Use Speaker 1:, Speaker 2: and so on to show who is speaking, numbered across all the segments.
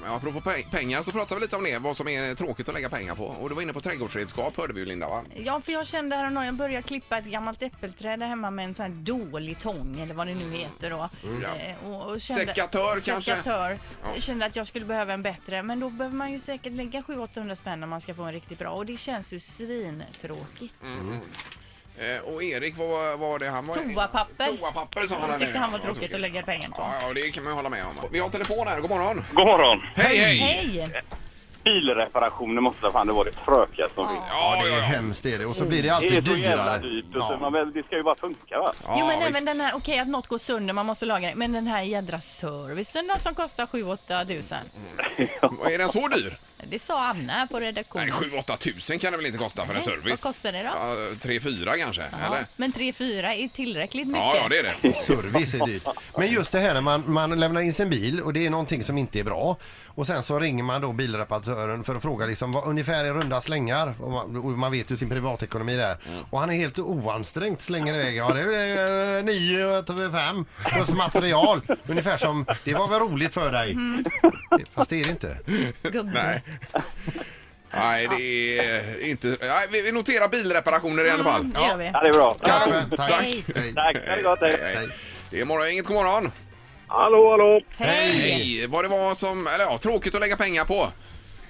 Speaker 1: Men apropå pe- pengar så pratar vi lite om det, vad som är tråkigt att lägga pengar på. Och du var inne på trädgårdsredskap hörde vi ju Linda va?
Speaker 2: Ja, för jag kände häromdagen, jag började klippa ett gammalt äppelträd där hemma med en sån här dålig tång eller vad det nu heter då. Eh, och- och
Speaker 1: Sekatör Mm. kanske?
Speaker 2: Sekatör.
Speaker 1: Ja.
Speaker 2: Jag Kände att jag skulle behöva en bättre, men då behöver man ju säkert lägga 700-800 spänn om man ska få en riktigt bra och det känns ju svintråkigt.
Speaker 1: Mm. Eh, och Erik, vad, vad var det han var?
Speaker 2: Toapapper.
Speaker 1: Toapapper som han
Speaker 2: Jag
Speaker 1: hade.
Speaker 2: tyckte han var tråkigt att lägga pengar på.
Speaker 1: Ja, ja, det kan man ju hålla med om. Vi har telefon här, god morgon.
Speaker 3: God morgon.
Speaker 1: Hej, hej!
Speaker 2: Hej!
Speaker 3: Bilreparationer måste fan det vara det frökigaste som finns.
Speaker 1: Ja,
Speaker 4: Det
Speaker 1: ja,
Speaker 4: är
Speaker 1: ja.
Speaker 4: hemskt är det. Och så blir det
Speaker 3: Det är
Speaker 4: alltid
Speaker 3: så jävla
Speaker 4: dyrare.
Speaker 3: dyrt. Och så,
Speaker 4: Ja.
Speaker 3: man, väl- det ska ju bara funka va?
Speaker 1: ja
Speaker 2: jo men
Speaker 1: visst.
Speaker 2: även den här, okej att något går sönder, man måste laga det. Men den här jädra servicen då, som kostar 7-8 tusen.
Speaker 1: Mm. Är den så dyr?
Speaker 2: Det sa Anna här på redaktionen.
Speaker 1: Nej, 7-8 tusen kan det väl inte kosta för en
Speaker 2: Nej,
Speaker 1: service?
Speaker 2: vad kostar det då?
Speaker 1: Ja, 3-4 kanske,
Speaker 2: Ja,
Speaker 1: eller?
Speaker 2: Men 3-4 är tillräckligt mycket.
Speaker 1: Ja, ja, det är det.
Speaker 4: Service är dyrt. Men just det här när man, man lämnar in sin bil och det är någonting som inte är bra. Och sen så ringer man då bilreparatören för att fråga liksom vad ungefär i runda slängar. Och man, och man vet ju sin privatekonomi där. Och han är helt oansträngt slänger iväg. Ja det är eh, nio och fem plus material. Ungefär som det var väl roligt för dig. Fast det är det inte.
Speaker 2: Gubbe.
Speaker 1: Nej. Nej, det är inte... Nej, vi vi noterar bilreparationer i alla fall.
Speaker 2: Det gör vi.
Speaker 3: Ja, det är bra.
Speaker 4: Kaffen, tack.
Speaker 2: Hej.
Speaker 4: Hej.
Speaker 3: Tack, ha det gott. hej.
Speaker 1: Hej. Det är morgon, inget god morgon.
Speaker 3: Hallå, hallå.
Speaker 2: Hej!
Speaker 1: Hej! Vad det var som... Eller ja, tråkigt att lägga pengar på.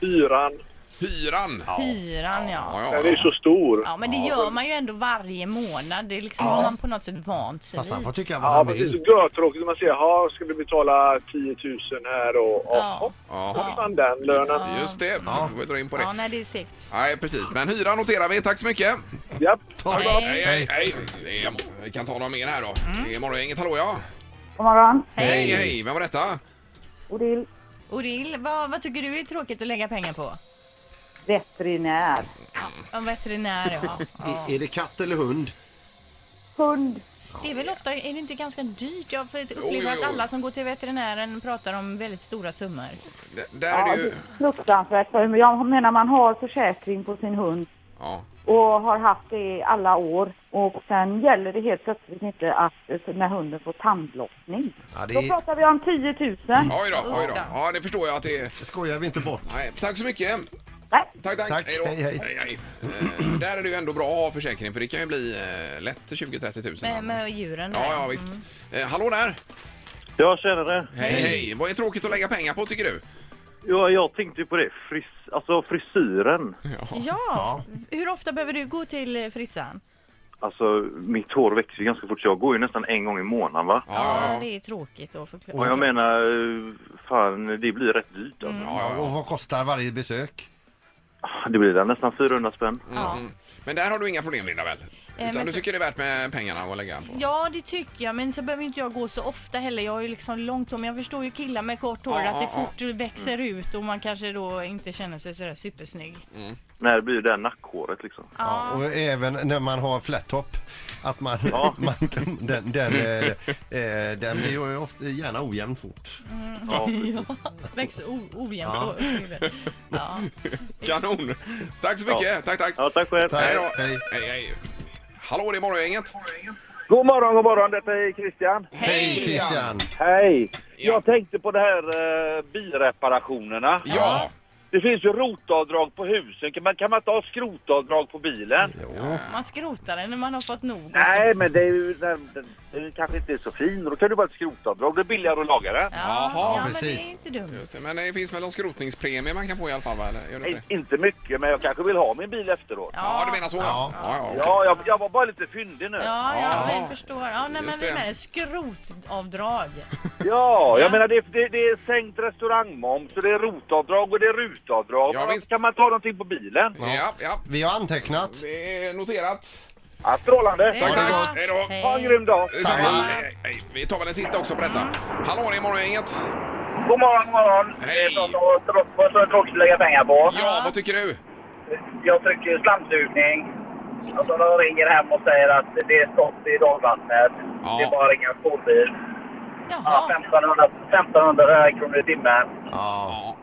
Speaker 3: Fyran.
Speaker 1: Hyran.
Speaker 2: Hyran ja.
Speaker 1: Ja, ja, ja.
Speaker 3: stor.
Speaker 2: Ja men det gör man ju ändå varje månad. Det är liksom har man på något sätt vant sig
Speaker 4: Fast han får
Speaker 2: vid.
Speaker 4: tycka vad han vill.
Speaker 3: görtråkigt när man säger ja, ska vi betala 10 000 här och,
Speaker 2: Ja.
Speaker 1: Jaha,
Speaker 3: fan den lönen.
Speaker 1: Just det, då får vi dra in på
Speaker 2: Ja,
Speaker 1: det.
Speaker 2: nej det är segt.
Speaker 1: Nej, precis. Men hyran noterar vi. Tack så mycket.
Speaker 3: Japp.
Speaker 4: Ta det.
Speaker 1: Hej, hej, hej. Det är- Vi kan ta några mer här då. Det är morgongänget. Hallå ja.
Speaker 5: God morgon.
Speaker 1: Hej, hej. Vem var detta?
Speaker 5: Odil,
Speaker 2: Odil, vad, vad tycker du är tråkigt att lägga pengar på?
Speaker 5: veterinär.
Speaker 2: En veterinär ja. ja.
Speaker 4: Är- Är det katt eller hund?
Speaker 5: Hund.
Speaker 2: Det är väl ofta, är det inte ganska dyrt? Jag har
Speaker 1: Jo,
Speaker 2: upplevt
Speaker 1: jo,
Speaker 2: att
Speaker 1: jo.
Speaker 2: alla som går till veterinären pratar om väldigt stora summor.
Speaker 1: D- Där är det ju...
Speaker 5: Fruktansvärt. För Jag menar, man har försäkring på sin hund
Speaker 1: Ja.
Speaker 5: och har haft det i alla år. Och sen gäller det helt plötsligt inte att eh, när hunden får tandlossning.
Speaker 4: Ja, det
Speaker 5: Då
Speaker 4: är...
Speaker 5: pratar vi om 10 000.
Speaker 1: Oj då, oj då. Ja, det förstår jag att det är...
Speaker 4: skojar vi inte bort.
Speaker 1: Nej, tack så mycket.
Speaker 5: Nej.
Speaker 1: Tack, tack.
Speaker 4: Tack,
Speaker 1: Hej, då.
Speaker 4: hej, hej.
Speaker 1: Eh, där är det ju ändå bra att ha försäkring för det kan ju bli eh, lätt 20-30 000.
Speaker 2: Med, med djuren där.
Speaker 1: Ja, ja, visst. Eh, hallå där!
Speaker 6: Ja, tjenare.
Speaker 1: Hej, hej, Vad är tråkigt att lägga pengar på tycker du?
Speaker 6: Ja, jag tänkte ju på det. Fris, alltså frisyren.
Speaker 2: Ja. hur ofta behöver du gå till eh, frissan?
Speaker 6: Alltså, mitt hår växer ju ganska fort. så Jag går ju nästan en gång i månaden, va?
Speaker 1: Ja, ja,
Speaker 2: det är tråkigt att förklara.
Speaker 6: Och jag menar, eh, fan, det blir rätt dyrt. Alltså.
Speaker 1: ja,
Speaker 4: Och
Speaker 1: ja.
Speaker 4: vad kostar varje besök?
Speaker 6: Det blir väl nästan 400 spänn.
Speaker 2: ja.
Speaker 1: Men där har du inga problem Linda väl? Utan
Speaker 2: men
Speaker 1: du
Speaker 2: så-
Speaker 1: tycker det är värt med pengarna att lägga på?
Speaker 2: Ja, det tycker jag. Men så behöver inte jag gå så ofta heller. Jag har ju liksom långt hår. Men jag förstår ju killar med kort hår
Speaker 1: Ja,
Speaker 2: att det
Speaker 1: ja, Mm.
Speaker 2: fort växer ut och man kanske då inte känner sig sådär supersnygg.
Speaker 6: Nej, det blir ju det här nackhåret liksom.
Speaker 4: Ja, och även när man har flat top. Att man, man den, den, eh, eh, den blir ju ofta, gärna ojämn fort.
Speaker 6: Ja.
Speaker 2: Växer o- ojämnt hår. Ja.
Speaker 1: Kanon! Tack så mycket! Tack, tack!
Speaker 6: ja, tack själv.
Speaker 4: Tack.
Speaker 1: Hej då!
Speaker 4: Hej.
Speaker 1: Hej, hej! Hallå, det är Morgongänget!
Speaker 3: God morgon, god morgon. Detta är Christian.
Speaker 4: Hej Christian!
Speaker 3: Hej.
Speaker 1: Ja.
Speaker 3: Jag tänkte på det här eh, bilreparationerna.
Speaker 1: Ja!
Speaker 3: Det finns ju rotavdrag på husen. Kan man, kan man inte ha skrotavdrag på bilen?
Speaker 4: Jo.
Speaker 2: Man skrotar den när man har fått nog. och så-
Speaker 3: Nej, men det är ju den, den, den kanske inte är så fin. Då kan du bara ha ett skrotavdrag. Det är billigare att laga den.
Speaker 2: Ja,
Speaker 1: Jaha,
Speaker 2: ja men det
Speaker 4: precis.
Speaker 2: är inte dumt.
Speaker 1: Just det. Men det finns väl någon skrotningspremie man kan få i alla fall? Va? Eller gör det inte
Speaker 3: Nej,
Speaker 1: det?
Speaker 3: inte mycket, men jag kanske vill ha min bil efteråt.
Speaker 1: Ja, du menar så?
Speaker 4: Ja.
Speaker 1: ja, ja, okej.
Speaker 3: Ja, jag, jag var bara lite fyndig nu. Ja,
Speaker 2: Ja, ja,
Speaker 1: Ja.
Speaker 2: vi förstår. Ja, nej,
Speaker 1: Just
Speaker 2: men vi
Speaker 1: det.
Speaker 2: menar skrotavdrag.
Speaker 3: jag menar det, det, det är sänkt restaurangmoms och det är rotavdrag och det är rutavdrag.
Speaker 1: Ja,
Speaker 3: Men
Speaker 1: visst.
Speaker 3: Kan man ta någonting på bilen?
Speaker 1: Ja, ja.
Speaker 4: Vi har antecknat.
Speaker 1: Det är noterat.
Speaker 3: Ja, strålande!
Speaker 2: Tack,
Speaker 1: tack. Hej då.
Speaker 3: Ha en grym dag!
Speaker 1: Detsamma. Hej, hej. Vi tar väl den sista också på detta. Hallå, det är Morgongänget.
Speaker 3: God morgon, god morgon!
Speaker 1: Hej.
Speaker 3: Det är så- så- så- så- så tråkigt att lägga pengar på.
Speaker 1: Ja, vad tycker du?
Speaker 3: Jag trycker slamsugning. Och så de ringer hem och säger att det är stopp i dagvattnet.
Speaker 1: Ja.
Speaker 3: Det är bara att ringa en skolbil. Ja,
Speaker 2: Jaha,
Speaker 3: 1500, 1500 kronor i timmen.
Speaker 4: Ja.
Speaker 1: Ja.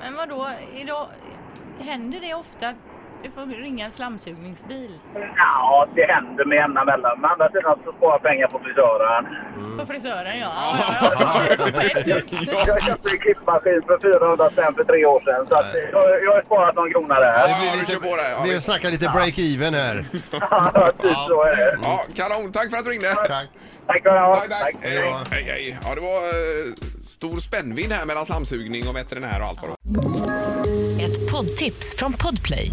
Speaker 2: men vadå? Idag, händer det ofta att Du får ringa en slamsugningsbil
Speaker 3: Ja, det händer med jämna mellan. Men å andra sidan så sparar jag pengar på frisören.
Speaker 2: på frisören. Mm. Ja, ja, ja. Det går på ett hus.
Speaker 3: Jag köpte en klippmaskin för 400 spänn för tre år sedan. Så att jag, jag har sparat någon krona där.
Speaker 1: Ja, du kör på det. Ja,
Speaker 4: vi
Speaker 1: visst.
Speaker 4: snackar lite break-even här.
Speaker 3: Ja, typ så är det.
Speaker 1: Ja, kanon. Tack för att du ringde.
Speaker 4: Tack.
Speaker 3: Tack för
Speaker 1: Tack,
Speaker 3: det.
Speaker 1: tack.
Speaker 4: Hej då.
Speaker 1: Hej, hej. Ja, det var eh, stor spännvidd här mellan slamsugning och veterinär och allt vad det var.
Speaker 7: Ett poddtips från Podplay.